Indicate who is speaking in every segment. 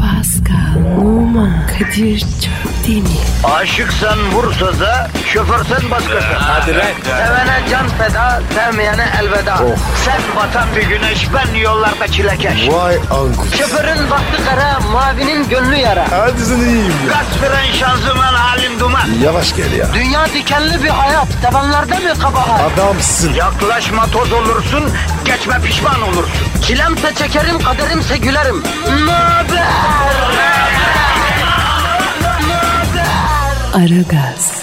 Speaker 1: Pascal, Oman, Kadir çok değil mi?
Speaker 2: Aşıksan vursa da şoförsen başkasın.
Speaker 3: Hadi lan. Oh.
Speaker 2: Sevene can feda, sevmeyene elveda. Sen batan bir güneş, ben yollarda çilekeş.
Speaker 4: Vay anku.
Speaker 2: Şoförün baktı kara, mavinin gönlü yara.
Speaker 4: Hadi sen iyiyim ya.
Speaker 2: Kasperen şanzıman halin duman.
Speaker 4: Yavaş gel ya.
Speaker 2: Dünya dikenli bir hayat, sevenlerde mi kabahar?
Speaker 4: Adamsın.
Speaker 2: Yaklaşma toz olursun, geçme pişman olursun. Çilemse çekerim, kaderimse gülerim. Möber!
Speaker 1: Aragaz,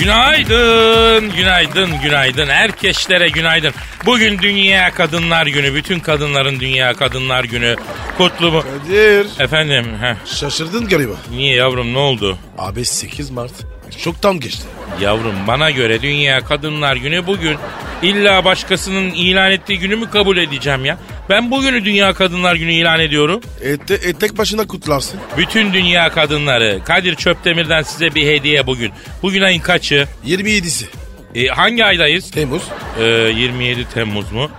Speaker 3: Günaydın, günaydın, günaydın. Herkeşlere günaydın. Bugün Dünya Kadınlar Günü. Bütün kadınların Dünya Kadınlar Günü. Kutlu mu?
Speaker 4: Kadir.
Speaker 3: Efendim, heh,
Speaker 4: Şaşırdın galiba.
Speaker 3: niye yavrum ne oldu?
Speaker 4: Abi 8 Mart. Çok tam geçti.
Speaker 3: Yavrum bana göre Dünya Kadınlar Günü bugün. İlla başkasının ilan ettiği günü mü kabul edeceğim ya? Ben bugünü Dünya Kadınlar Günü ilan ediyorum.
Speaker 4: Et, et tek başına kutlarsın.
Speaker 3: Bütün dünya kadınları. Kadir Çöptemir'den size bir hediye bugün. Bugün ayın kaçı?
Speaker 4: 27'si.
Speaker 3: E, hangi aydayız?
Speaker 4: Temmuz.
Speaker 3: E, 27 Temmuz mu?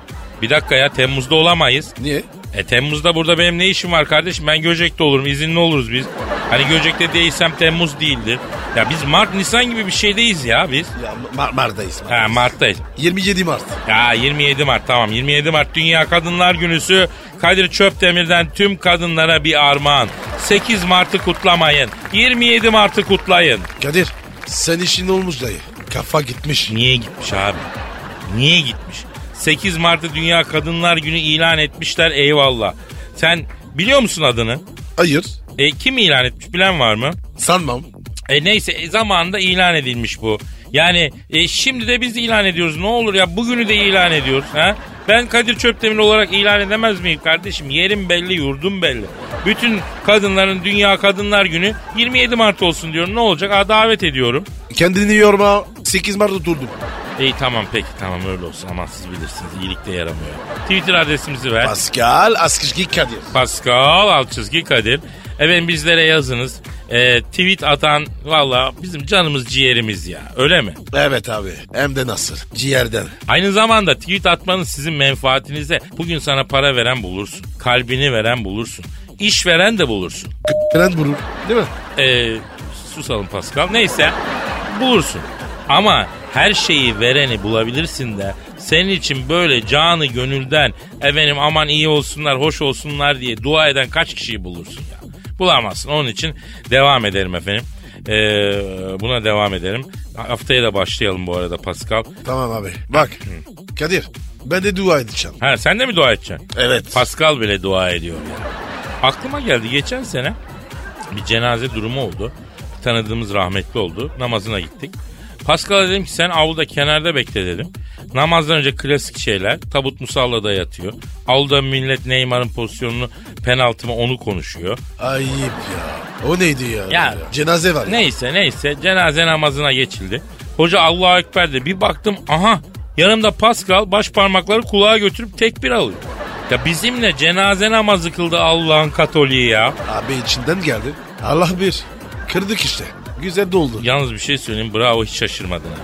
Speaker 3: Bir dakika ya Temmuz'da olamayız.
Speaker 4: Niye?
Speaker 3: E Temmuz'da burada benim ne işim var kardeşim? Ben Göcek'te olurum. izinli oluruz biz. Hani Göcek'te değilsem Temmuz değildir. Ya biz Mart Nisan gibi bir şeydeyiz ya biz.
Speaker 4: Ya Mar Mart'dayız.
Speaker 3: Ha Mart'tayız.
Speaker 4: 27 Mart.
Speaker 3: Ya 27 Mart tamam 27 Mart Dünya Kadınlar Günü'sü Kadir Çöpdemir'den tüm kadınlara bir armağan. 8 Mart'ı kutlamayın. 27 Mart'ı kutlayın.
Speaker 4: Kadir sen işin olmuş dayı. Kafa gitmiş.
Speaker 3: Niye gitmiş abi? Niye gitmiş? 8 Mart'ı Dünya Kadınlar Günü ilan etmişler eyvallah. Sen biliyor musun adını?
Speaker 4: Hayır.
Speaker 3: E, kim ilan etmiş bilen var mı?
Speaker 4: Sanmam.
Speaker 3: E neyse e, zamanında ilan edilmiş bu. Yani e, şimdi de biz ilan ediyoruz. Ne olur ya bugünü de ilan ediyoruz. Ha? Ben Kadir Çöptemir olarak ilan edemez miyim kardeşim? Yerim belli, yurdum belli. Bütün kadınların Dünya Kadınlar Günü 27 Mart olsun diyorum. Ne olacak? Ha, davet ediyorum.
Speaker 4: Kendini yorma. 8 Mart'ta durdum.
Speaker 3: İyi tamam peki tamam öyle olsun. Aman siz bilirsiniz iyilikte yaramıyor. Twitter adresimizi ver.
Speaker 4: Pascal Askışki Kadir.
Speaker 3: Pascal alt çizgi Kadir. Efendim bizlere yazınız. E, tweet atan valla bizim canımız ciğerimiz ya öyle mi?
Speaker 4: Evet abi. Hem de nasıl? Ciğerden.
Speaker 3: Aynı zamanda tweet atmanız sizin menfaatinize. Bugün sana para veren bulursun. Kalbini veren bulursun. İş veren de bulursun.
Speaker 4: Tren vurur. Değil mi?
Speaker 3: Ee, susalım Pascal. Neyse bulursun. Ama her şeyi vereni bulabilirsin de senin için böyle canı gönülden efendim aman iyi olsunlar hoş olsunlar diye dua eden kaç kişiyi bulursun ya. Bulamazsın. Onun için devam edelim efendim. Ee, buna devam edelim. Haftaya da başlayalım bu arada Pascal.
Speaker 4: Tamam abi. Bak. Kadir. Ben de dua edeceğim.
Speaker 3: Ha sen de mi dua edeceksin?
Speaker 4: Evet.
Speaker 3: Pascal bile dua ediyor ya. Aklıma geldi geçen sene bir cenaze durumu oldu. Bir tanıdığımız rahmetli oldu. Namazına gittik. Pascal'a dedim ki sen avluda kenarda bekle dedim. Namazdan önce klasik şeyler. Tabut musallada yatıyor. Avluda millet Neymar'ın pozisyonunu penaltıma onu konuşuyor.
Speaker 4: Ayıp ya. O neydi ya?
Speaker 3: Ya.
Speaker 4: Cenaze var. ya.
Speaker 3: Neyse neyse cenaze namazına geçildi. Hoca Allahu Ekber de bir baktım aha yanımda Pascal baş parmakları kulağa götürüp tekbir alıyor. Ya bizimle cenaze namazı kıldı Allah'ın katoliği ya.
Speaker 4: Abi içinden geldi. Allah bir. Kırdık işte. Güzel doldu.
Speaker 3: Yalnız bir şey söyleyeyim bravo hiç şaşırmadın. ha.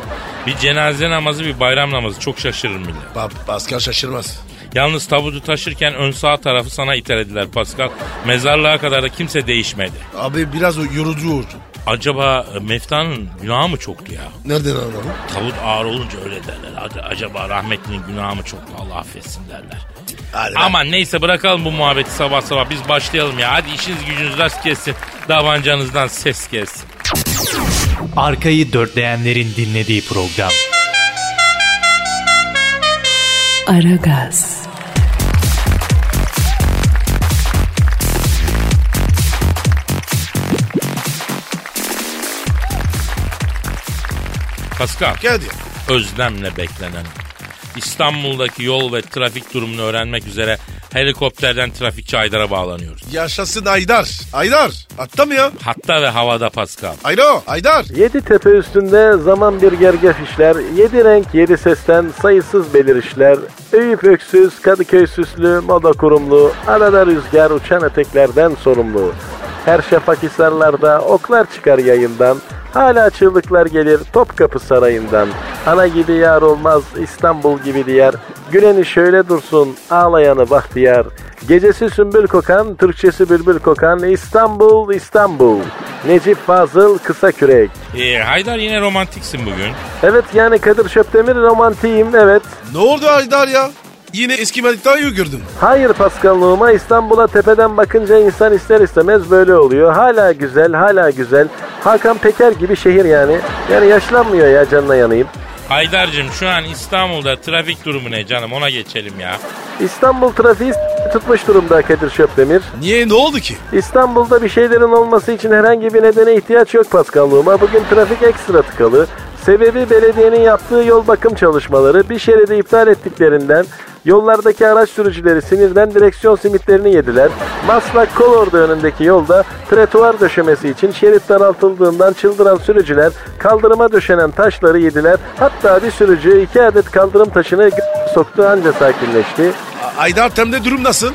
Speaker 3: Bir cenaze namazı bir bayram namazı çok şaşırır millet.
Speaker 4: Pa- Pascal şaşırmaz.
Speaker 3: Yalnız tabutu taşırken ön sağ tarafı sana itelediler Pascal. Mezarlığa kadar da kimse değişmedi.
Speaker 4: Abi biraz o yorucu oldu.
Speaker 3: Acaba e, Mefta'nın günahı mı çoktu ya?
Speaker 4: Nereden anladın?
Speaker 3: Tavut ağır olunca öyle derler. Ac- Acaba rahmetlinin günahı mı çok Allah affetsin derler.
Speaker 4: Hadi lan.
Speaker 3: Aman neyse bırakalım bu muhabbeti sabah sabah biz başlayalım ya. Hadi işiniz gücünüz rast gelsin. Davancanızdan ses gelsin.
Speaker 5: Arkayı dörtleyenlerin dinlediği program.
Speaker 1: Aragaz,
Speaker 3: Pascal
Speaker 4: Kadir.
Speaker 3: özlemle beklenen. İstanbul'daki yol ve trafik durumunu öğrenmek üzere helikopterden trafikçi Aydar'a bağlanıyoruz.
Speaker 4: Yaşasın Aydar. Aydar. Atta mı ya?
Speaker 3: Hatta ve havada Pascal.
Speaker 4: Alo Aydar.
Speaker 6: Yedi tepe üstünde zaman bir gergef işler, yedi renk yedi sesten sayısız belirişler, Eyüp öksüz, Kadıköy süslü, moda kurumlu, arada rüzgar uçan eteklerden sorumlu. Her şafak hisarlarda oklar çıkar yayından, Hala çığlıklar gelir Topkapı Sarayı'ndan. Ana gibi yar olmaz İstanbul gibi diyar. Güneni şöyle dursun ağlayanı bahtiyar. Gecesi sümbül kokan, Türkçesi bülbül kokan İstanbul, İstanbul. Necip Fazıl Kısa Kürek.
Speaker 3: Ee, Haydar yine romantiksin bugün.
Speaker 6: Evet yani Kadir Şöpdemir romantiyim evet.
Speaker 4: Ne oldu Haydar ya? Yine eski Meliktaş'ı gördüm.
Speaker 6: Hayır Paskal'lığıma İstanbul'a tepeden bakınca insan ister istemez böyle oluyor. Hala güzel, hala güzel. Hakan Peker gibi şehir yani. Yani yaşlanmıyor ya canına yanayım.
Speaker 3: Haydar'cığım şu an İstanbul'da trafik durumu ne canım ona geçelim ya.
Speaker 6: İstanbul trafiği s- tutmuş durumda Kadir Şöpdemir.
Speaker 4: Niye ne oldu ki?
Speaker 6: İstanbul'da bir şeylerin olması için herhangi bir nedene ihtiyaç yok Paskal'lığıma. Bugün trafik ekstra tıkalı. Sebebi belediyenin yaptığı yol bakım çalışmaları bir şeridi iptal ettiklerinden yollardaki araç sürücüleri sinirden direksiyon simitlerini yediler. Maslak Kolordu önündeki yolda tretuar döşemesi için şerit daraltıldığından çıldıran sürücüler kaldırıma döşenen taşları yediler. Hatta bir sürücü iki adet kaldırım taşını g- soktu anca sakinleşti.
Speaker 4: A- Haydar Tem'de durum nasıl?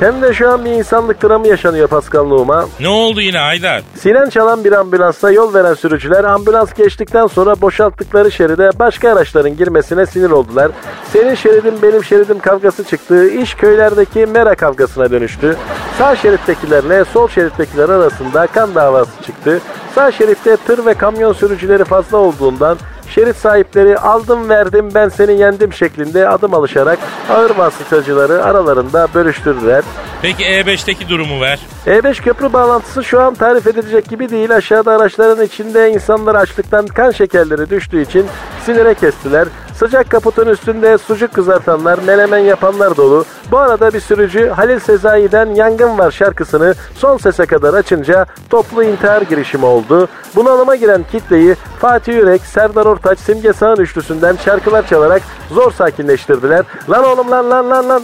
Speaker 6: Hem de şu an bir insanlık dramı yaşanıyor Paskal'lığıma.
Speaker 3: Ne oldu yine Haydar?
Speaker 6: Siren çalan bir ambulansa yol veren sürücüler ambulans geçtikten sonra boşalttıkları şeride başka araçların girmesine sinir oldular. Senin şeridin benim şeridim kavgası çıktığı iş köylerdeki mera kavgasına dönüştü. Sağ şerittekilerle sol şerittekiler arasında kan davası çıktı. Sağ şeritte tır ve kamyon sürücüleri fazla olduğundan şerit sahipleri aldım verdim ben seni yendim şeklinde adım alışarak ağır vasıtacıları aralarında bölüştürdüler.
Speaker 3: Peki E5'teki durumu ver.
Speaker 6: E5 E köprü bağlantısı şu an tarif edilecek gibi değil. Aşağıda araçların içinde insanlar açlıktan kan şekerleri düştüğü için sinire kestiler. Sıcak kaputun üstünde sucuk kızartanlar, menemen yapanlar dolu. Bu arada bir sürücü Halil Sezai'den Yangın Var şarkısını son sese kadar açınca toplu intihar girişimi oldu. Bunalıma giren kitleyi Fatih Yürek, Serdar Ortaç, Simge Sağan üçlüsünden şarkılar çalarak zor sakinleştirdiler. Lan oğlum lan lan lan lan.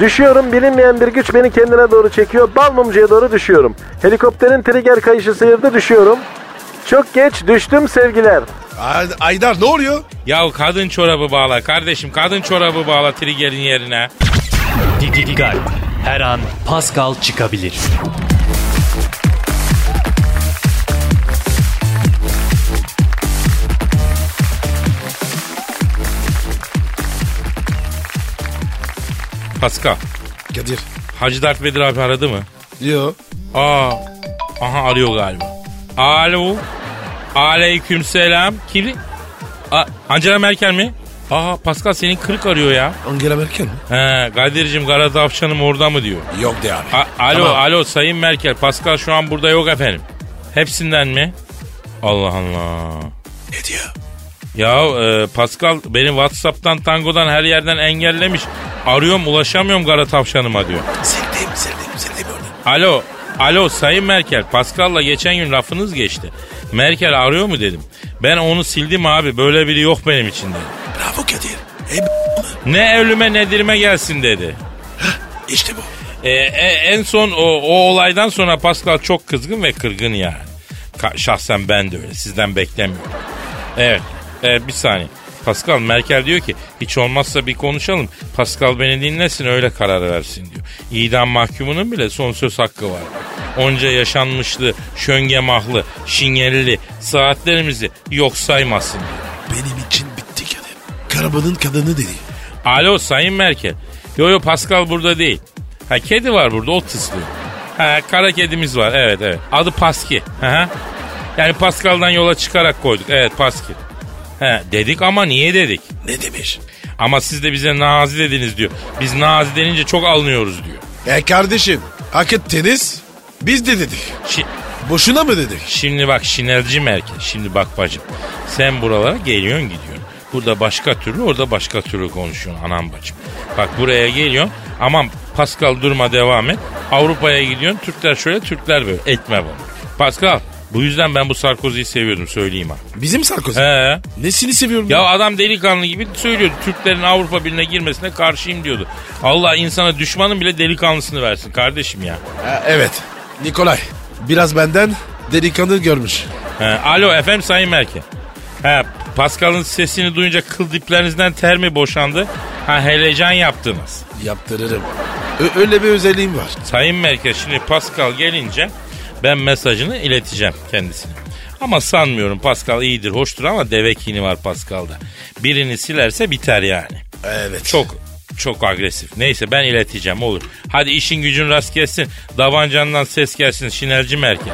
Speaker 6: Düşüyorum bilinmeyen bir güç beni kendine doğru çekiyor. Bal mumcuya doğru düşüyorum. Helikopterin trigger kayışı sıyırdı düşüyorum. Çok geç düştüm sevgiler.
Speaker 4: Hay- Haydar ne oluyor?
Speaker 3: Ya kadın çorabı bağla kardeşim kadın çorabı bağla triggerin yerine.
Speaker 5: Didi Digal. Her an Pascal çıkabilir.
Speaker 3: Pascal.
Speaker 4: Kadir.
Speaker 3: Hacı Dert Vedir abi aradı mı?
Speaker 4: Yo.
Speaker 3: Aa. Aha arıyor galiba. Alo. Aleyküm selam. Kim? A- Angela Merkel mi? Aa Pascal senin kırık arıyor ya.
Speaker 4: Angela Merkel mi?
Speaker 3: He Kadir'cim kara tavşanım orada mı diyor.
Speaker 4: Yok de abi.
Speaker 3: A- alo
Speaker 4: Tamam.
Speaker 3: alo Sayın Merkel Pascal şu an burada yok efendim. Hepsinden mi? Allah Allah.
Speaker 4: Ne diyor?
Speaker 3: Ya e, Pascal beni Whatsapp'tan tangodan her yerden engellemiş. Arıyorum ulaşamıyorum kara tavşanıma diyor.
Speaker 4: Sevdim, sevdim, sevdim onu.
Speaker 3: Alo, alo Sayın Merkel. Pascal'la geçen gün lafınız geçti. Merkel arıyor mu dedim. Ben onu sildim abi böyle biri yok benim için dedi.
Speaker 4: Bravo Kadir. E,
Speaker 3: Ne ölüme ne dirime gelsin dedi.
Speaker 4: işte bu.
Speaker 3: E, e, en son o, o olaydan sonra Pascal çok kızgın ve kırgın yani. Ka- şahsen ben de öyle sizden beklemiyorum. Evet e, bir saniye. Pascal Merkel diyor ki hiç olmazsa bir konuşalım. Pascal beni dinlesin öyle karar versin diyor. İdam mahkumunun bile son söz hakkı var. Onca yaşanmışlı, şöngemahlı, şinyelli saatlerimizi yok saymasın diyor.
Speaker 4: Benim için bitti Kadir. Karabanın kadını dedi.
Speaker 3: Alo Sayın Merkel. Yo yo Pascal burada değil. Ha kedi var burada o tıslıyor. Ha kara kedimiz var evet evet. Adı Paski. Hı hı. Yani Pascal'dan yola çıkarak koyduk. Evet Paski. He dedik ama niye dedik?
Speaker 4: Ne demiş?
Speaker 3: Ama siz de bize nazi dediniz diyor. Biz nazi denince çok alınıyoruz diyor.
Speaker 4: E kardeşim, hak ettiniz. Biz de dedik.
Speaker 3: Şi-
Speaker 4: Boşuna mı dedik?
Speaker 3: Şimdi bak şinerci merkez. Şimdi bak bacım. Sen buralara geliyorsun gidiyorsun. Burada başka türlü orada başka türlü konuşuyorsun anam bacım. Bak buraya geliyorsun. Aman Pascal durma devam et. Avrupa'ya gidiyorsun. Türkler şöyle Türkler böyle. Etme bunu. Pascal bu yüzden ben bu Sarkozy'yi seviyordum söyleyeyim ha.
Speaker 4: Bizim Sarkozy.
Speaker 3: He.
Speaker 4: Nesini seviyorum
Speaker 3: Ya adam delikanlı gibi söylüyordu. Türklerin Avrupa Birliği'ne girmesine karşıyım diyordu. Allah insana düşmanın bile delikanlısını versin kardeşim ya.
Speaker 4: Ha, evet. Nikolay. Biraz benden delikanlı görmüş.
Speaker 3: He, alo efendim Sayın Merke. He, Pascal'ın sesini duyunca kıl diplerinizden ter mi boşandı? Ha helecan yaptınız.
Speaker 4: Yaptırırım. Ö- öyle bir özelliğim var.
Speaker 3: Sayın Merke şimdi Pascal gelince ben mesajını ileteceğim kendisine. Ama sanmıyorum Pascal iyidir, hoştur ama deve kini var Pascal'da. Birini silerse biter yani.
Speaker 4: Evet.
Speaker 3: Çok çok agresif. Neyse ben ileteceğim olur. Hadi işin gücün rast gelsin. Davancandan ses gelsin Şinelci Merkel.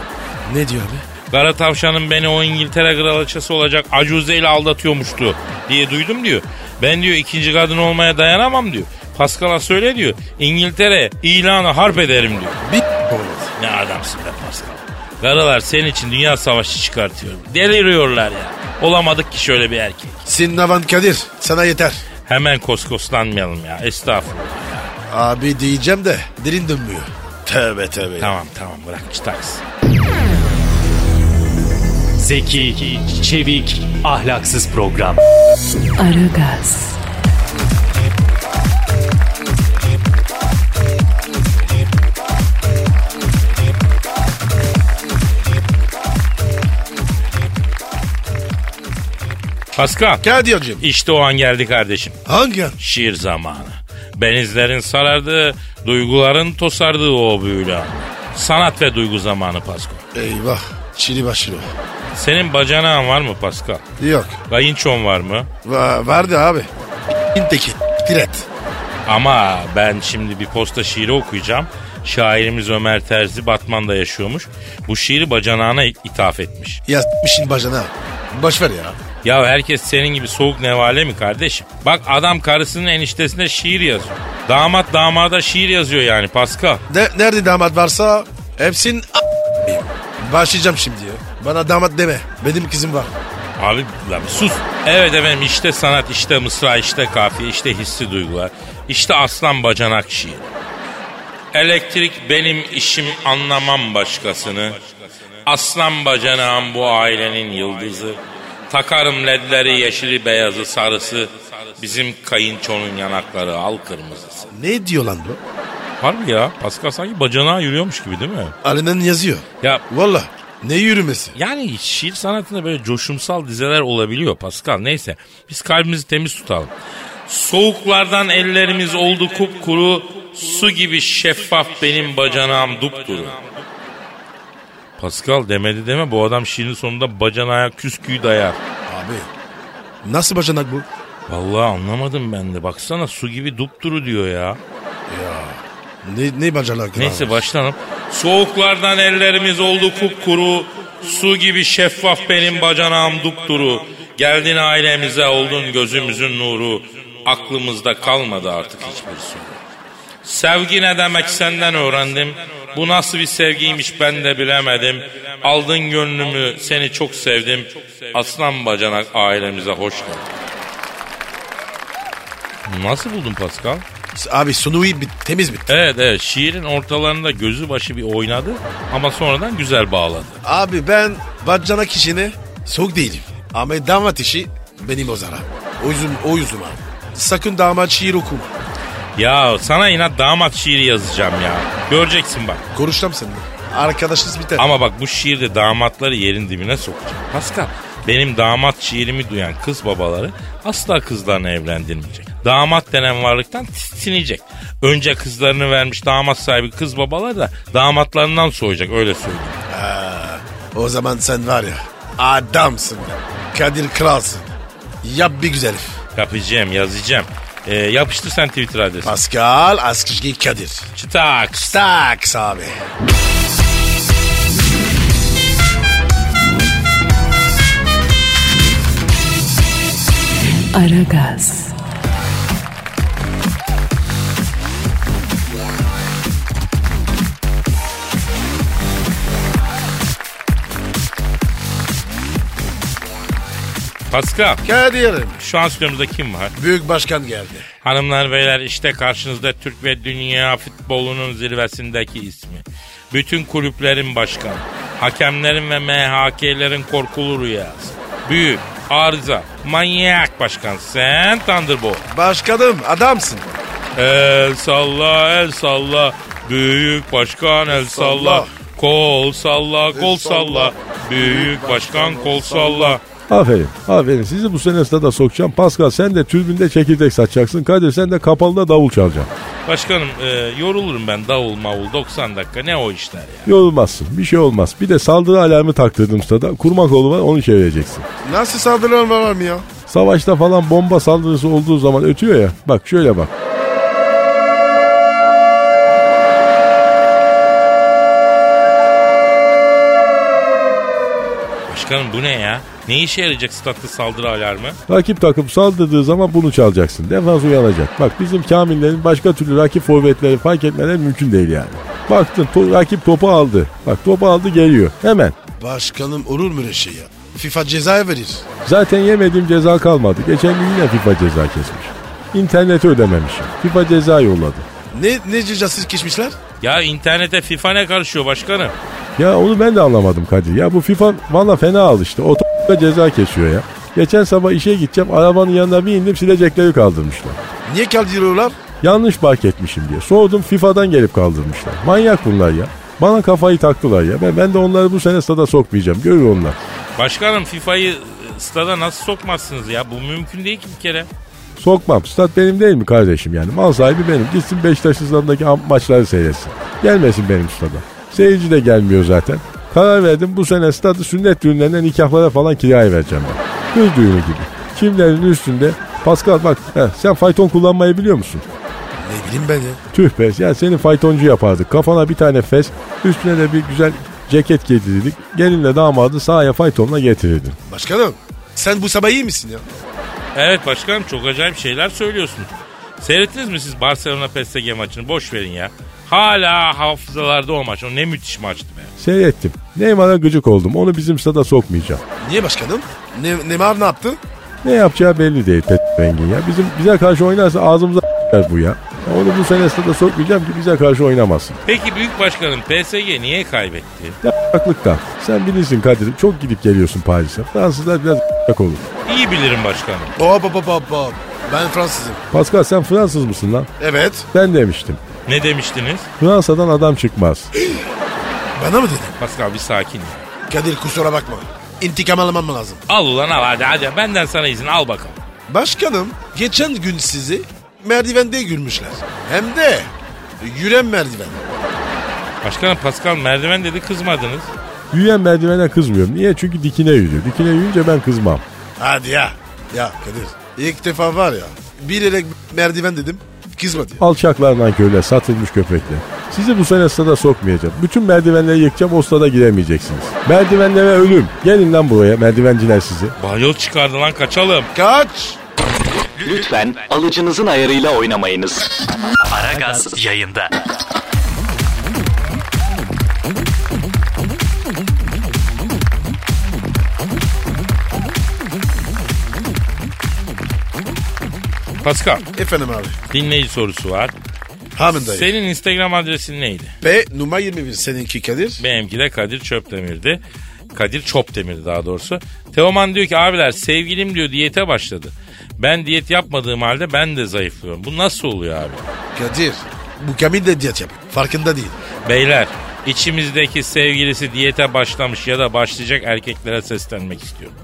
Speaker 4: Ne diyor abi?
Speaker 3: Kara tavşanın beni o İngiltere kraliçesi olacak acuze ile aldatıyormuştu diye duydum diyor. Ben diyor ikinci kadın olmaya dayanamam diyor. Pascal'a söyle diyor. İngiltere ilanı harp ederim diyor.
Speaker 4: Bir olmaz.
Speaker 3: Ne adamsın be Pascal. Karılar senin için dünya savaşı çıkartıyor. Deliriyorlar ya. Olamadık ki şöyle bir erkek.
Speaker 4: Senin avan Kadir sana yeter.
Speaker 3: Hemen koskoslanmayalım ya. Estağfurullah.
Speaker 4: Abi diyeceğim de dilin dönmüyor. Tövbe tövbe.
Speaker 3: Tamam tamam bırak çıtaks.
Speaker 5: Zeki, çevik, ahlaksız program.
Speaker 1: Aragaz,
Speaker 3: Pascal.
Speaker 4: Kadir'cim
Speaker 3: İşte o an geldi kardeşim.
Speaker 4: hangi an?
Speaker 3: Şiir zamanı. Benizlerin sarardığı, duyguların tosardığı o büyülü an. Sanat ve duygu zamanı Pascal.
Speaker 4: Eyvah çili başlı.
Speaker 3: Senin bacanağın var mı Pascal?
Speaker 4: Yok
Speaker 3: Kayınçon var mı?
Speaker 4: va vardı abi. İnteki diret.
Speaker 3: Ama ben şimdi bir posta şiiri okuyacağım. Şairimiz Ömer Terzi Batman'da yaşıyormuş. Bu şiiri bacanağına ithaf etmiş.
Speaker 4: Ya s**mişin bacana. Boş ver ya.
Speaker 3: Ya herkes senin gibi soğuk nevale mi kardeşim? Bak adam karısının eniştesine şiir yazıyor. Damat damada şiir yazıyor yani Pascal.
Speaker 4: Ne, nerede damat varsa hepsinin a- Başlayacağım şimdi ya. Bana damat deme. Benim kızım var.
Speaker 3: Abi lan sus. Evet efendim işte sanat, işte mısra, işte kafiye, işte hissi duygular. İşte aslan bacanak şiir. Elektrik benim işim anlamam başkasını. Aslan bacanağım bu ailenin yıldızı. Takarım ledleri yeşili beyazı sarısı. Bizim kayınçonun yanakları al kırmızısı.
Speaker 4: Ne diyor lan bu?
Speaker 3: Harbi ya Pascal sanki bacanağa yürüyormuş gibi değil mi?
Speaker 4: Alenen yazıyor.
Speaker 3: Ya
Speaker 4: Valla ne yürümesi?
Speaker 3: Yani şiir sanatında böyle coşumsal dizeler olabiliyor Pascal. Neyse biz kalbimizi temiz tutalım. Soğuklardan ellerimiz oldu kupkuru, su gibi şeffaf benim bacanağım dupduru. Pascal demedi deme bu adam şiirin sonunda bacanağa küsküyü dayar.
Speaker 4: Abi nasıl bacanak bu?
Speaker 3: Vallahi anlamadım ben de. Baksana su gibi dupduru diyor ya.
Speaker 4: Ne, ne bacanak?
Speaker 3: Neyse
Speaker 4: abi?
Speaker 3: başlanalım. Soğuklardan ellerimiz oldu kupkuru. Su gibi şeffaf benim bacanağım dupduru. Geldin ailemize oldun gözümüzün nuru. Aklımızda kalmadı artık hiçbir soru. Sevgi ne demek senden öğrendim. Bu nasıl bir sevgiymiş ben de bilemedim. Aldın gönlümü seni çok sevdim. Aslan bacanak ailemize hoş geldin. Nasıl buldun Pascal?
Speaker 4: Abi sunu iyi bit, temiz bit.
Speaker 3: Evet evet şiirin ortalarında gözü başı bir oynadı ama sonradan güzel bağladı.
Speaker 4: Abi ben bacanak işine soğuk değilim. Ama damat işi benim o zara. O yüzden o yüzden abi. Sakın damat şiir okuma.
Speaker 3: Ya sana inat damat şiiri yazacağım ya. Göreceksin bak.
Speaker 4: Konuşacağım seninle. Arkadaşız biter.
Speaker 3: Ama bak bu şiirde damatları yerin dibine sokacağım. Pascal benim damat şiirimi duyan kız babaları asla kızlarını evlendirmeyecek. Damat denen varlıktan tiksinecek. Önce kızlarını vermiş damat sahibi kız babalar da damatlarından soyacak öyle söyleyeyim.
Speaker 4: O zaman sen var ya adamsın be. Kadir kralsın. Yap bir güzel herif.
Speaker 3: Yapacağım yazacağım. Ee, yapıştır sen Twitter adresini.
Speaker 4: Pascal Askışki Kadir.
Speaker 3: Çıtaks.
Speaker 4: Staks abi.
Speaker 1: Aragaz,
Speaker 3: Pascal.
Speaker 4: Kadir'im.
Speaker 3: Şu an stüdyomuzda kim var?
Speaker 4: Büyük başkan geldi.
Speaker 3: Hanımlar beyler işte karşınızda Türk ve dünya futbolunun zirvesindeki ismi. Bütün kulüplerin başkanı. Hakemlerin ve MHK'lerin korkulu rüyası. Büyük, arıza, manyak başkan sen Thunderbolt.
Speaker 4: Başkanım adamsın.
Speaker 3: El salla, el salla, büyük başkan el salla.
Speaker 4: salla.
Speaker 3: Kol salla, kol
Speaker 4: El salla.
Speaker 3: salla, büyük başkan kol salla.
Speaker 7: Aferin. Aferin. Sizi bu sene stada sokacağım. Pascal sen de türbünde çekirdek satacaksın. Kadir sen de kapalıda davul çalacaksın.
Speaker 3: Başkanım e, yorulurum ben davul mavul 90 dakika ne o işler ya.
Speaker 8: Yorulmazsın. Bir şey olmaz. Bir de saldırı alarmı taktırdım stada. Kurma kolu var onu çevireceksin.
Speaker 4: Nasıl saldırı var mı ya?
Speaker 8: Savaşta falan bomba saldırısı olduğu zaman ötüyor ya. Bak şöyle bak.
Speaker 3: Başkanım bu ne ya? Ne işe yarayacak statlı saldırı alarmı?
Speaker 8: Rakip takım saldırdığı zaman bunu çalacaksın. Defans uyanacak. Bak bizim kamillerin başka türlü rakip forvetleri fark etmeleri mümkün değil yani. Baktın to- rakip topu aldı. Bak topu aldı geliyor. Hemen.
Speaker 4: Başkanım olur mu öyle şey ya? FIFA ceza verir.
Speaker 8: Zaten yemediğim ceza kalmadı. Geçen gün yine FIFA ceza kesmiş. İnterneti ödememişim. FIFA ceza yolladı.
Speaker 4: Ne, ne cezası kesmişler?
Speaker 3: Ya internete FIFA ne karışıyor başkanım?
Speaker 8: Ya onu ben de anlamadım Kadir. Ya bu FIFA valla fena alıştı. O da ceza kesiyor ya. Geçen sabah işe gideceğim. Arabanın yanına bir indim silecekleri kaldırmışlar.
Speaker 4: Niye kaldırıyorlar?
Speaker 8: Yanlış park etmişim diye. Sordum FIFA'dan gelip kaldırmışlar. Manyak bunlar ya. Bana kafayı taktılar ya. Ben, ben de onları bu sene stada sokmayacağım. Görür onlar.
Speaker 3: Başkanım FIFA'yı e, stada nasıl sokmazsınız ya? Bu mümkün değil ki bir kere.
Speaker 8: Sokmam. Stat benim değil mi kardeşim yani? Mal sahibi benim. Gitsin Beşiktaş stadındaki am- maçları seyretsin. Gelmesin benim stada. Seyirci de gelmiyor zaten. Karar verdim bu sene stadı sünnet düğünlerine nikahlara falan kiraya vereceğim ben. Kız düğünü gibi. Kimlerin üstünde Pascal bak heh, sen fayton kullanmayı biliyor musun?
Speaker 4: Ne bileyim ben ya.
Speaker 8: Tüh be ya seni faytoncu yapardık. Kafana bir tane fes, üstüne de bir güzel ceket giydirirdik. Gelinle damadı sahaya faytonla getirirdin.
Speaker 4: Başkanım sen bu sabah iyi misin ya?
Speaker 3: Evet başkanım çok acayip şeyler söylüyorsunuz. Seyrettiniz mi siz Barcelona PSG maçını? Boş verin ya. Hala hafızalarda o maç. O ne müthiş maçtı be.
Speaker 8: Seyrettim. Neymar'a gıcık oldum. Onu bizim stada sokmayacağım.
Speaker 4: Niye başkanım? Ne, Neymar ne yaptı?
Speaker 8: Ne yapacağı belli değil pet rengin ya. Bizim bize karşı oynarsa ağzımıza bu ya. Ya Onu bu sene stada sokmayacağım ki bize karşı oynamasın.
Speaker 3: Peki büyük başkanım PSG niye kaybetti?
Speaker 8: Ya da. Sen bilirsin Kadir'im çok gidip geliyorsun Paris'e. Fransızlar biraz yak olur.
Speaker 3: İyi bilirim başkanım.
Speaker 4: Hop hop hop hop hop. Ben Fransızım.
Speaker 8: Pascal sen Fransız mısın lan?
Speaker 4: Evet.
Speaker 8: Ben demiştim.
Speaker 3: Ne demiştiniz?
Speaker 8: Fransa'dan adam çıkmaz.
Speaker 4: Bana mı dedin?
Speaker 3: Pascal bir sakin. ol.
Speaker 4: Kadir kusura bakma. İntikam almam lazım.
Speaker 3: Al ulan al hadi hadi. Benden sana izin al bakalım.
Speaker 4: Başkanım geçen gün sizi merdivende gülmüşler. Hem de yüren merdiven.
Speaker 3: Başkanım Pascal merdiven dedi kızmadınız.
Speaker 8: Yürüyen merdivene kızmıyorum. Niye? Çünkü dikine yürüyor. Dikine yürüyünce ben kızmam.
Speaker 4: Hadi ya. Ya Kadir ilk defa var ya bilerek merdiven dedim kızmadı ya.
Speaker 8: Alçaklardan köyle satılmış köpekler. Sizi bu sene stada sokmayacağım. Bütün merdivenleri yıkacağım o stada giremeyeceksiniz. Merdivenlere ölüm. Gelin lan buraya merdivenciler sizi.
Speaker 3: Bayıl çıkardı lan kaçalım.
Speaker 4: Kaç.
Speaker 9: Lütfen alıcınızın ayarıyla oynamayınız.
Speaker 5: Aragaz yayında.
Speaker 3: Pascal
Speaker 4: Efendim abi.
Speaker 3: dinleyici sorusu var.
Speaker 4: Hamid dayı.
Speaker 3: Senin Instagram adresin neydi?
Speaker 4: Ve numara 21 seninki Kadir.
Speaker 3: Benimki de Kadir Çöpdemir'di. Kadir Çopdemir'di daha doğrusu. Teoman diyor ki abiler sevgilim diyor diyete başladı. Ben diyet yapmadığım halde ben de zayıflıyorum. Bu nasıl oluyor abi?
Speaker 4: Kadir. Bu Kamil de diyet yapıyor. Farkında değil.
Speaker 3: Beyler içimizdeki sevgilisi diyete başlamış ya da başlayacak erkeklere seslenmek istiyorum.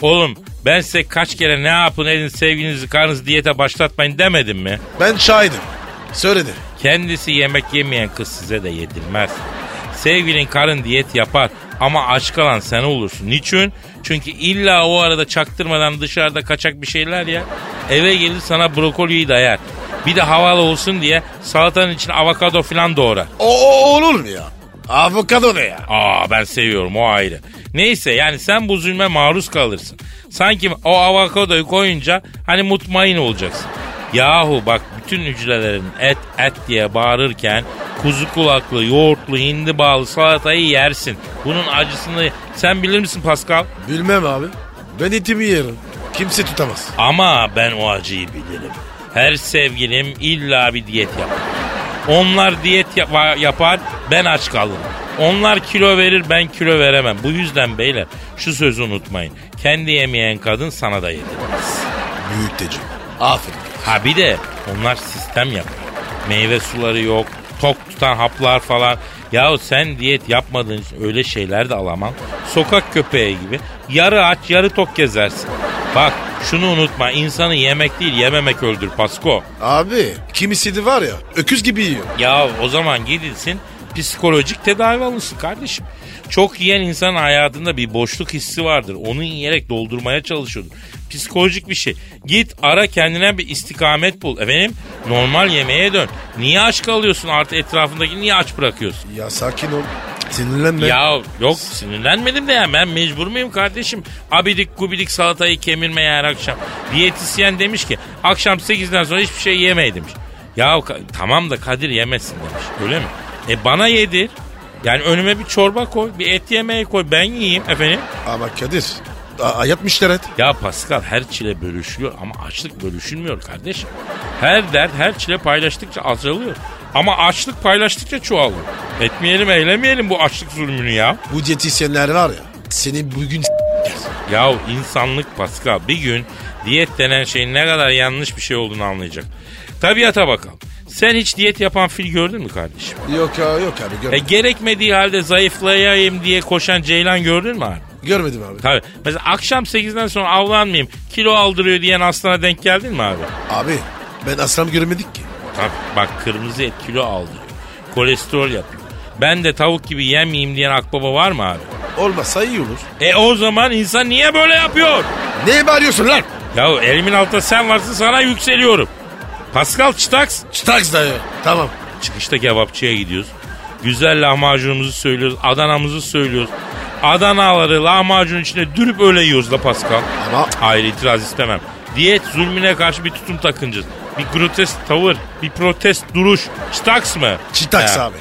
Speaker 3: Oğlum ben size kaç kere ne yapın edin sevgilinizi karnınızı diyete başlatmayın demedim mi?
Speaker 4: Ben şahidim. Söyledi.
Speaker 3: Kendisi yemek yemeyen kız size de yedirmez. Sevgilin karın diyet yapar ama aç kalan sen olursun. Niçin? Çünkü illa o arada çaktırmadan dışarıda kaçak bir şeyler ya. Eve gelir sana brokoliyi dayar. Bir de havalı olsun diye salatanın içine avokado falan doğrar.
Speaker 4: O, o olur mu ya? Avokado ne ya?
Speaker 3: Aa ben seviyorum o ayrı. Neyse yani sen bu zulme maruz kalırsın. Sanki o avokadoyu koyunca hani mutmain olacaksın. Yahu bak bütün hücrelerin et et diye bağırırken kuzu kulaklı, yoğurtlu, hindi bağlı salatayı yersin. Bunun acısını sen bilir misin Pascal?
Speaker 4: Bilmem abi. Ben etimi yerim. Kimse tutamaz.
Speaker 3: Ama ben o acıyı bilirim. Her sevgilim illa bir diyet yapar. Onlar diyet yap- yapar, ben aç kalırım. Onlar kilo verir, ben kilo veremem. Bu yüzden beyler şu sözü unutmayın. Kendi yemeyen kadın sana da yedirmez.
Speaker 4: Büyük tecrübe. Aferin.
Speaker 3: Ha bir de onlar sistem yapar. Meyve suları yok, tok tutan haplar falan. Yahu sen diyet yapmadığın için öyle şeyler de alamam. Sokak köpeği gibi yarı aç yarı tok gezersin. Bak Şunu unutma insanı yemek değil yememek öldür Pasko.
Speaker 4: Abi kimisi de var ya öküz gibi yiyor.
Speaker 3: Ya o zaman gidilsin psikolojik tedavi alınsın kardeşim. Çok yiyen insanın hayatında bir boşluk hissi vardır. Onu yiyerek doldurmaya çalışıyordur. Psikolojik bir şey. Git ara kendine bir istikamet bul. Efendim normal yemeğe dön. Niye aç kalıyorsun artı etrafındaki niye aç bırakıyorsun?
Speaker 4: Ya sakin ol. Sinirlenme.
Speaker 3: Ya yok sinirlenmedim de ya ben mecbur muyum kardeşim? Abidik gubidik salatayı kemirmeye her akşam. Diyetisyen demiş ki akşam 8'den sonra hiçbir şey yemeyin demiş. Ya ka- tamam da Kadir yemesin demiş öyle mi? E bana yedir. Yani önüme bir çorba koy, bir et yemeği koy ben yiyeyim efendim.
Speaker 4: Ama Kadir a- ayıp müşteret.
Speaker 3: Ya Pascal her çile bölüşülüyor ama açlık bölüşülmüyor kardeşim. Her dert her çile paylaştıkça azalıyor. Ama açlık paylaştıkça çoğalıyor. Etmeyelim eylemeyelim bu açlık zulmünü ya.
Speaker 4: Bu diyetisyenler var ya seni bugün s-
Speaker 3: Ya insanlık Pascal bir gün diyet denen şeyin ne kadar yanlış bir şey olduğunu anlayacak. Tabiata bakalım. Sen hiç diyet yapan fil gördün mü kardeşim?
Speaker 4: Yok ya yok abi gör-
Speaker 3: E, gerekmediği halde zayıflayayım diye koşan ceylan gördün mü abi?
Speaker 4: görmedim abi.
Speaker 3: Tabii. Mesela akşam 8'den sonra avlanmayayım kilo aldırıyor diyen aslana denk geldin mi abi?
Speaker 4: Abi ben aslan göremedik ki.
Speaker 3: Tabii bak kırmızı et kilo aldırıyor. Kolesterol yapıyor. Ben de tavuk gibi yemeyeyim diyen akbaba var mı abi?
Speaker 4: Olmasa iyi olur.
Speaker 3: E o zaman insan niye böyle yapıyor?
Speaker 4: Ne bağırıyorsun lan?
Speaker 3: Ya elimin altında sen varsın sana yükseliyorum. Pascal Çıtaks
Speaker 4: Staks dayı. Tamam.
Speaker 3: Çıkışta kebapçıya gidiyoruz. Güzel lahmacunumuzu söylüyoruz. Adanamızı söylüyoruz. Adanaları lahmacunun içine dürüp öyle yiyoruz da Pascal.
Speaker 4: Ama-
Speaker 3: Hayır itiraz istemem. Diyet zulmüne karşı bir tutum takıncız. Bir grotesk tavır, bir protest duruş. Staks mı?
Speaker 4: Çitaks
Speaker 3: He.
Speaker 4: abi.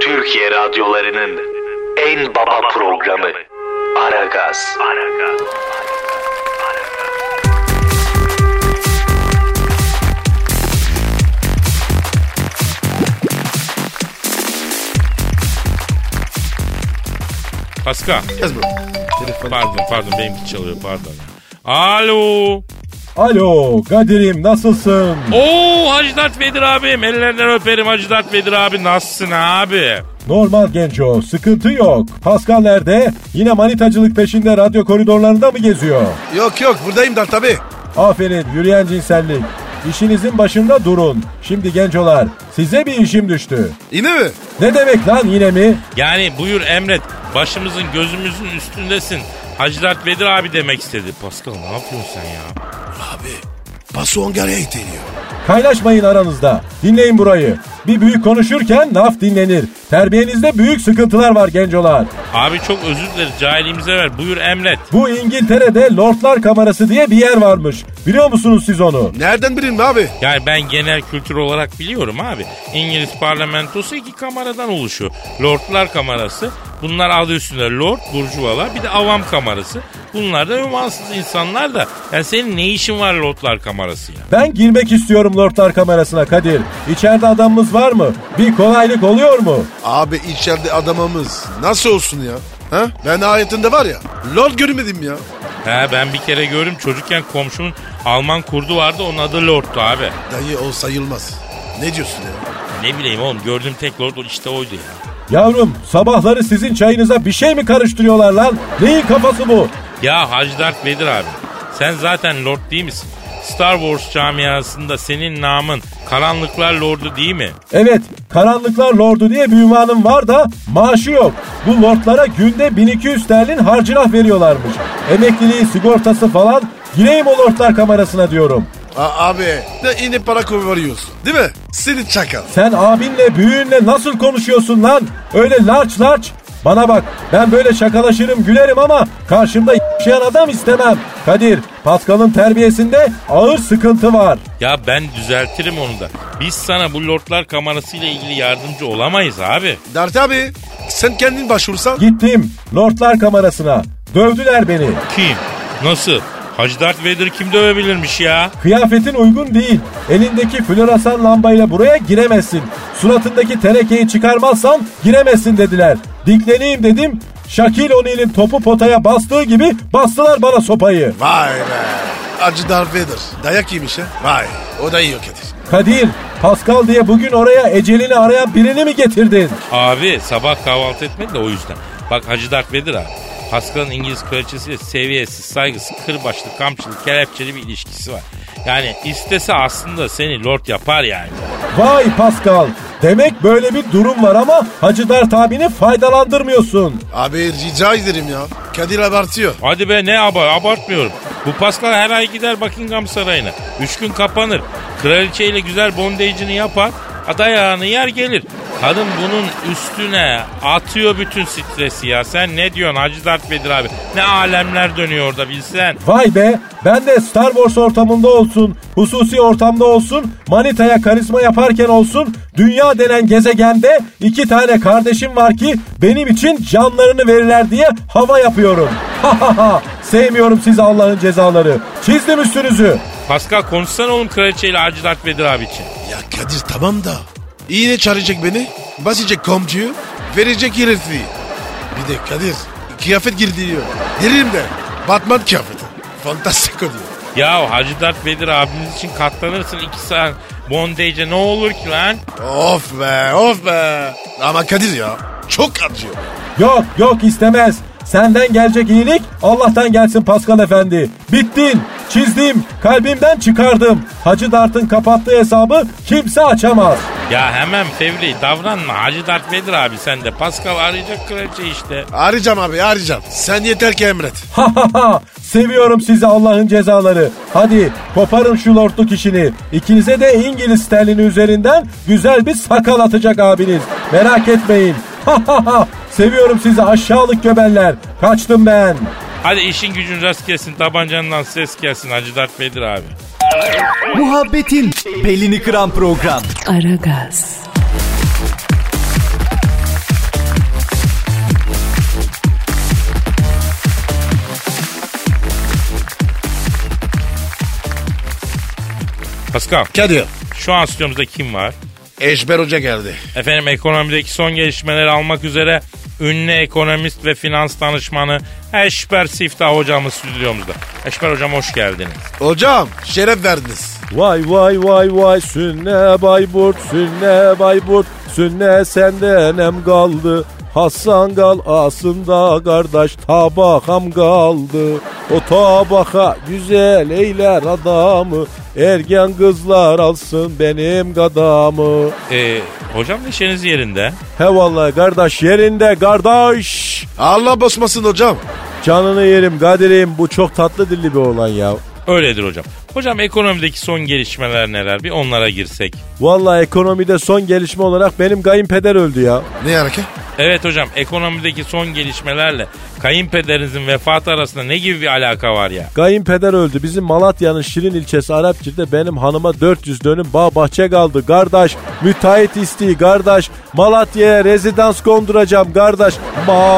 Speaker 6: Türkiye radyolarının en baba programı Aragaz.
Speaker 3: Pascal.
Speaker 4: Yaz bunu.
Speaker 3: Pardon pardon benimki çalıyor pardon. Alo.
Speaker 8: Alo Kadir'im nasılsın?
Speaker 3: Oo Hacı Dert Vedir abim. Ellerinden öperim Hacı Dert Vedir abi. Nasılsın abi?
Speaker 8: Normal genco sıkıntı yok. Pascal nerede? Yine manitacılık peşinde radyo koridorlarında mı geziyor?
Speaker 4: Yok yok buradayım da tabii.
Speaker 8: Aferin yürüyen cinsellik. İşinizin başında durun. Şimdi gencolar size bir işim düştü.
Speaker 4: Yine mi?
Speaker 8: Ne demek lan yine mi?
Speaker 3: Yani buyur emret. Başımızın gözümüzün üstündesin. Hacı Dert Vedir abi demek istedi. Pascal ne yapıyorsun sen ya?
Speaker 4: Abi paso Angarya'ya iteliyor.
Speaker 8: Kaynaşmayın aranızda. Dinleyin burayı. Bir büyük konuşurken laf dinlenir. Terbiyenizde büyük sıkıntılar var gencolar.
Speaker 3: Abi çok özür dileriz cahilliğimize ver. Buyur emret.
Speaker 8: Bu İngiltere'de Lordlar Kamerası diye bir yer varmış. Biliyor musunuz siz onu?
Speaker 4: Nereden bileyim abi?
Speaker 3: Yani ben genel kültür olarak biliyorum abi. İngiliz parlamentosu iki kameradan oluşuyor. Lordlar kamerası. Bunlar adı üstünde Lord, Burjuvalar. Bir de Avam kamerası. Bunlar da ümansız insanlar da. Yani senin ne işin var Lordlar kamerası ya?
Speaker 8: Ben girmek istiyorum Lordlar Kamerası'na Kadir. İçeride adamımız var mı? Bir kolaylık oluyor mu?
Speaker 4: Abi içeride adamımız nasıl olsun ya? Ha? Ben hayatımda var ya lord görmedim ya.
Speaker 3: He ben bir kere gördüm çocukken komşumun Alman kurdu vardı onun adı Lord'tu abi.
Speaker 4: Dayı o sayılmaz. Ne diyorsun ya?
Speaker 3: Ne bileyim oğlum gördüğüm tek Lord işte oydu ya.
Speaker 8: Yavrum sabahları sizin çayınıza bir şey mi karıştırıyorlar lan? Neyin kafası bu?
Speaker 3: Ya Hacı Darth Vader abi sen zaten Lord değil misin? Star Wars camiasında senin namın Karanlıklar Lord'u değil mi?
Speaker 8: Evet, Karanlıklar Lordu diye bir ünvanım var da maaşı yok. Bu lordlara günde 1200 sterlin harcırah veriyorlarmış. Emekliliği, sigortası falan gireyim o lordlar kamerasına diyorum.
Speaker 4: A- abi ne yine para kovarıyorsun değil mi? Seni çakal.
Speaker 8: Sen abinle büyüğünle nasıl konuşuyorsun lan? Öyle larç larç. Bana bak ben böyle şakalaşırım gülerim ama karşımda yaşayan adam istemem. Kadir, Pascal'ın terbiyesinde ağır sıkıntı var.
Speaker 3: Ya ben düzeltirim onu da. Biz sana bu Lordlar kamerasıyla ilgili yardımcı olamayız abi.
Speaker 4: Dert abi sen kendin başvursan.
Speaker 8: Gittim lordlar kamerasına. Dövdüler beni.
Speaker 3: Kim? Nasıl? Hacı Darth Vader kim dövebilirmiş ya?
Speaker 8: Kıyafetin uygun değil. Elindeki floresan lambayla buraya giremezsin. Suratındaki terekeyi çıkarmazsan giremezsin dediler. Dikleneyim dedim. Şakil O'Neal'in topu potaya bastığı gibi bastılar bana sopayı.
Speaker 4: Vay be. Acı Darth Vader. Dayak yemiş ha. Vay. O da iyi yok Kadir.
Speaker 8: Kadir, Pascal diye bugün oraya ecelini arayan birini mi getirdin?
Speaker 3: Abi sabah kahvaltı etmedi de o yüzden. Bak Hacı Dark Vedir ha. Pascal'ın İngiliz kraliçesiyle seviyesiz, saygısız, kırbaçlı, kamçılı, kelepçeli bir ilişkisi var. Yani istese aslında seni lord yapar yani.
Speaker 8: Vay Pascal. Demek böyle bir durum var ama Hacı Dert abini faydalandırmıyorsun.
Speaker 4: Abi rica ederim ya. Kadir abartıyor.
Speaker 3: Hadi be ne abart abartmıyorum. Bu Pascal her ay gider Buckingham Sarayı'na. Üç gün kapanır. Kraliçeyle güzel bondajını yapar. Adayağını yer gelir. Kadın bunun üstüne atıyor bütün stresi ya. Sen ne diyorsun Hacı Dert Bedir abi? Ne alemler dönüyor orada bilsen.
Speaker 8: Vay be ben de Star Wars ortamında olsun, hususi ortamda olsun, manitaya karizma yaparken olsun, dünya denen gezegende iki tane kardeşim var ki benim için canlarını verirler diye hava yapıyorum. Ha ha ha sevmiyorum sizi Allah'ın cezaları. Çizdim üstünüzü.
Speaker 3: Pascal konuşsana oğlum kraliçeyle Hacı Dert Bedir abi için.
Speaker 4: Ya Kadir tamam da. Yine çağıracak beni. Basacak komşuyu. Verecek herifi. Bir de Kadir kıyafet giydiriyor. Derim ben. Batman kıyafeti. Fantastik oluyor.
Speaker 3: Ya Hacı Dert Bedir abimiz için katlanırsın iki saat bondage'e ne olur ki lan?
Speaker 4: Of be of be. Ama Kadir ya çok acıyor.
Speaker 8: Yok yok istemez. Senden gelecek iyilik Allah'tan gelsin Pascal Efendi. Bittin, çizdim, kalbimden çıkardım. Hacı Dart'ın kapattığı hesabı kimse açamaz.
Speaker 3: Ya hemen fevri davranma Hacı Dert Bedir abi sen de Pascal arayacak kraliçe işte.
Speaker 4: Arayacağım abi arayacağım. Sen yeter ki emret.
Speaker 8: Ha ha ha! Seviyorum sizi Allah'ın cezaları. Hadi koparın şu lordluk işini. İkinize de İngiliz sterlini üzerinden güzel bir sakal atacak abiniz. Merak etmeyin. Ha ha ha! Seviyorum sizi aşağılık göbenler. Kaçtım ben.
Speaker 3: Hadi işin gücün rast gelsin tabancandan ses gelsin Hacı Dert Bedir abi.
Speaker 5: Muhabbetin belini kıran program.
Speaker 1: Aragaz,
Speaker 3: Pascal
Speaker 4: Kadir.
Speaker 3: şu an stüdyomuzda kim var?
Speaker 4: Eşber Hoca geldi.
Speaker 3: Efendim ekonomideki son gelişmeleri almak üzere ünlü ekonomist ve finans danışmanı Eşber Siftah hocamız stüdyomuzda. Eşber hocam hoş geldiniz.
Speaker 4: Hocam şeref verdiniz.
Speaker 8: Vay vay vay vay sünne Bayburt sünne Bayburt sünne senden hem kaldı Hasan gal aslında kardeş tabakam kaldı O tabaka güzel eyler adamı Ergen kızlar alsın benim gadamı
Speaker 3: Ee, hocam neşeniz yerinde.
Speaker 8: He vallahi kardeş yerinde kardeş
Speaker 4: Allah basmasın hocam.
Speaker 8: Canını yerim Kadir'im bu çok tatlı dilli bir olan ya
Speaker 3: Öyledir hocam. Hocam ekonomideki son gelişmeler neler? Bir onlara girsek.
Speaker 8: Vallahi ekonomide son gelişme olarak benim kayınpeder öldü ya
Speaker 4: Ne hareket?
Speaker 3: Evet hocam ekonomideki son gelişmelerle kayınpederinizin vefatı arasında ne gibi bir alaka var ya?
Speaker 8: Kayınpeder öldü. Bizim Malatya'nın Şirin ilçesi Arapçı'da benim hanıma 400 dönüm bağ bahçe kaldı. Kardeş müteahhit isteği kardeş. Malatya'ya rezidans konduracağım kardeş.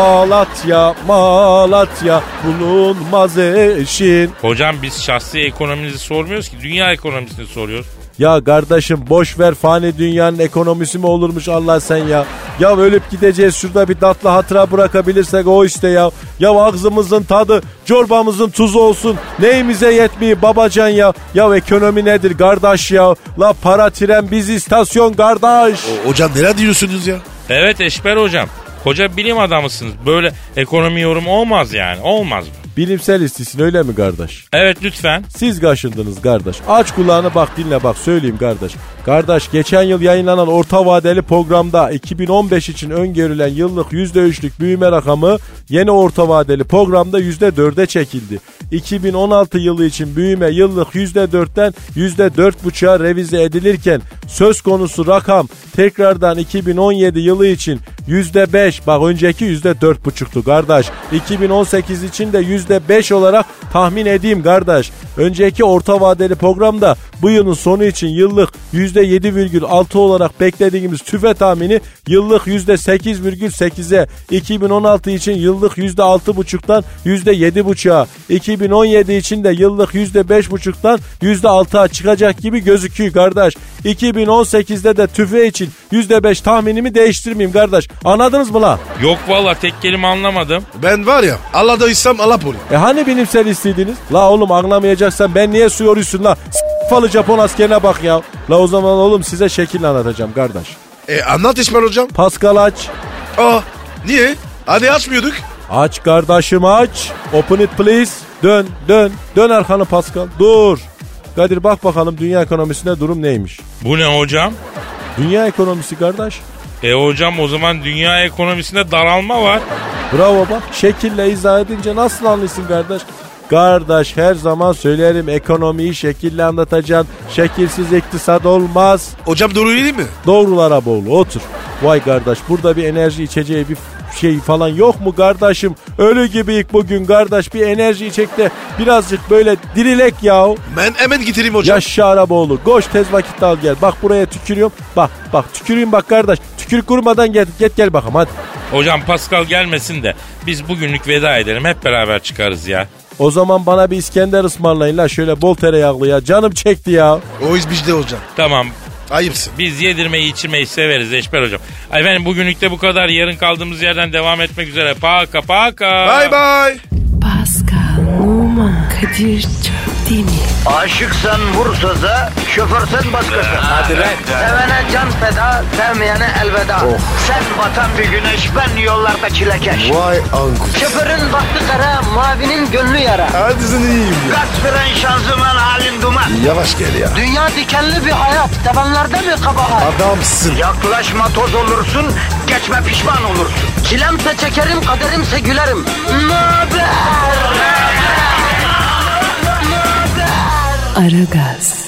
Speaker 8: Malatya Malatya bulunmaz eşin.
Speaker 3: Hocam biz şahsi ekonominizi sormuyoruz ki dünya ekonomisini soruyoruz.
Speaker 8: Ya kardeşim boş ver fani dünyanın ekonomisi mi olurmuş Allah sen ya. Ya ölüp gideceğiz şurada bir tatlı hatıra bırakabilirsek o işte ya. Ya ağzımızın tadı, çorbamızın tuzu olsun. Neyimize yetmiyor babacan ya. Ya ekonomi nedir kardeş ya. La para tren biz istasyon kardeş.
Speaker 4: O- hocam neler diyorsunuz ya?
Speaker 3: Evet Eşber hocam. Koca bilim adamısınız. Böyle ekonomi yorumu olmaz yani. Olmaz mı?
Speaker 8: Bilimsel istisin öyle mi kardeş?
Speaker 3: Evet lütfen.
Speaker 8: Siz kaşındınız kardeş. Aç kulağını bak dinle bak söyleyeyim kardeş. Kardeş geçen yıl yayınlanan orta vadeli programda 2015 için öngörülen yıllık %3'lük büyüme rakamı yeni orta vadeli programda %4'e çekildi. 2016 yılı için büyüme yıllık %4'ten %4,5'a revize edilirken söz konusu rakam tekrardan 2017 yılı için %5 bak önceki %4,5'tu kardeş. 2018 için de %5 olarak tahmin edeyim kardeş. Önceki orta vadeli programda bu yılın sonu için yıllık %7,6 olarak beklediğimiz tüfe tahmini yıllık %8,8'e, 2016 için yıllık %6,5'tan %7,5'a, 2017 için de yıllık %5,5'tan %6'a çıkacak gibi gözüküyor kardeş. 2018'de de tüfe için %5 tahminimi değiştirmeyeyim kardeş. Anladınız mı lan?
Speaker 3: Yok valla tek kelime anlamadım.
Speaker 4: Ben var ya Allah'daysam Allah polis.
Speaker 8: E hani bilimsel istediniz? La oğlum anlamayacaksan ben niye su yoruyorsun la? S- falı Japon askerine bak ya. La o zaman oğlum size şekil anlatacağım kardeş.
Speaker 4: E anlat İsmail hocam.
Speaker 8: Pascal aç.
Speaker 4: Aa niye? Hadi açmıyorduk.
Speaker 8: Aç kardeşim aç. Open it please. Dön dön. Dön arkanı Pascal. Dur. Kadir bak bakalım dünya ekonomisinde durum neymiş?
Speaker 3: Bu ne hocam?
Speaker 8: Dünya ekonomisi kardeş.
Speaker 3: E hocam o zaman dünya ekonomisinde daralma var.
Speaker 8: Bravo bak şekille izah edince nasıl anlıyorsun kardeş? Kardeş her zaman söylerim ekonomiyi şekille anlatacaksın. Şekilsiz iktisat olmaz.
Speaker 4: Hocam doğru değil mi?
Speaker 8: Doğrulara boğulu otur. Vay kardeş burada bir enerji içeceği bir şey falan yok mu kardeşim? Ölü gibiyik bugün kardeş bir enerji içek de birazcık böyle dirilek yahu.
Speaker 4: Ben hemen getireyim hocam.
Speaker 8: Yaşa Araboğlu koş tez vakitte al gel. Bak buraya tükürüyorum. Bak bak tüküreyim bak kardeş. Tükür kurmadan gel, git gel bakalım hadi.
Speaker 3: Hocam Pascal gelmesin de biz bugünlük veda edelim hep beraber çıkarız ya.
Speaker 8: O zaman bana bir İskender ısmarlayın la şöyle bol tereyağlı ya. Canım çekti ya.
Speaker 4: O iş bizde hocam.
Speaker 3: Tamam
Speaker 4: Ayıpsın.
Speaker 3: biz yedirmeyi içirmeyi severiz Eşber hocam. Efendim bugünlük de bu kadar yarın kaldığımız yerden devam etmek üzere. Paka paka.
Speaker 4: Bay bay.
Speaker 1: Pascal, Oman, Kadir çok değil mi?
Speaker 2: Aşıksan vursa da, şoförsen başkasın. Hadi
Speaker 4: lan.
Speaker 2: Sevene can feda, sevmeyene elveda. Sen batan bir güneş, ben yollarda çilekeş.
Speaker 4: Vay anku.
Speaker 2: Şoförün baktı kara, mavinin gönlü yara.
Speaker 4: Hadi sen iyiyim ya.
Speaker 2: Kasperen şanzıman halin duman.
Speaker 4: Yavaş gel ya.
Speaker 2: Dünya dikenli bir hayat, sevenlerde mi kabahar?
Speaker 4: Adamsın.
Speaker 2: Yaklaşma toz olursun, geçme pişman olursun. Çilemse çekerim, kaderimse gülerim. Möber!
Speaker 1: Aragaz.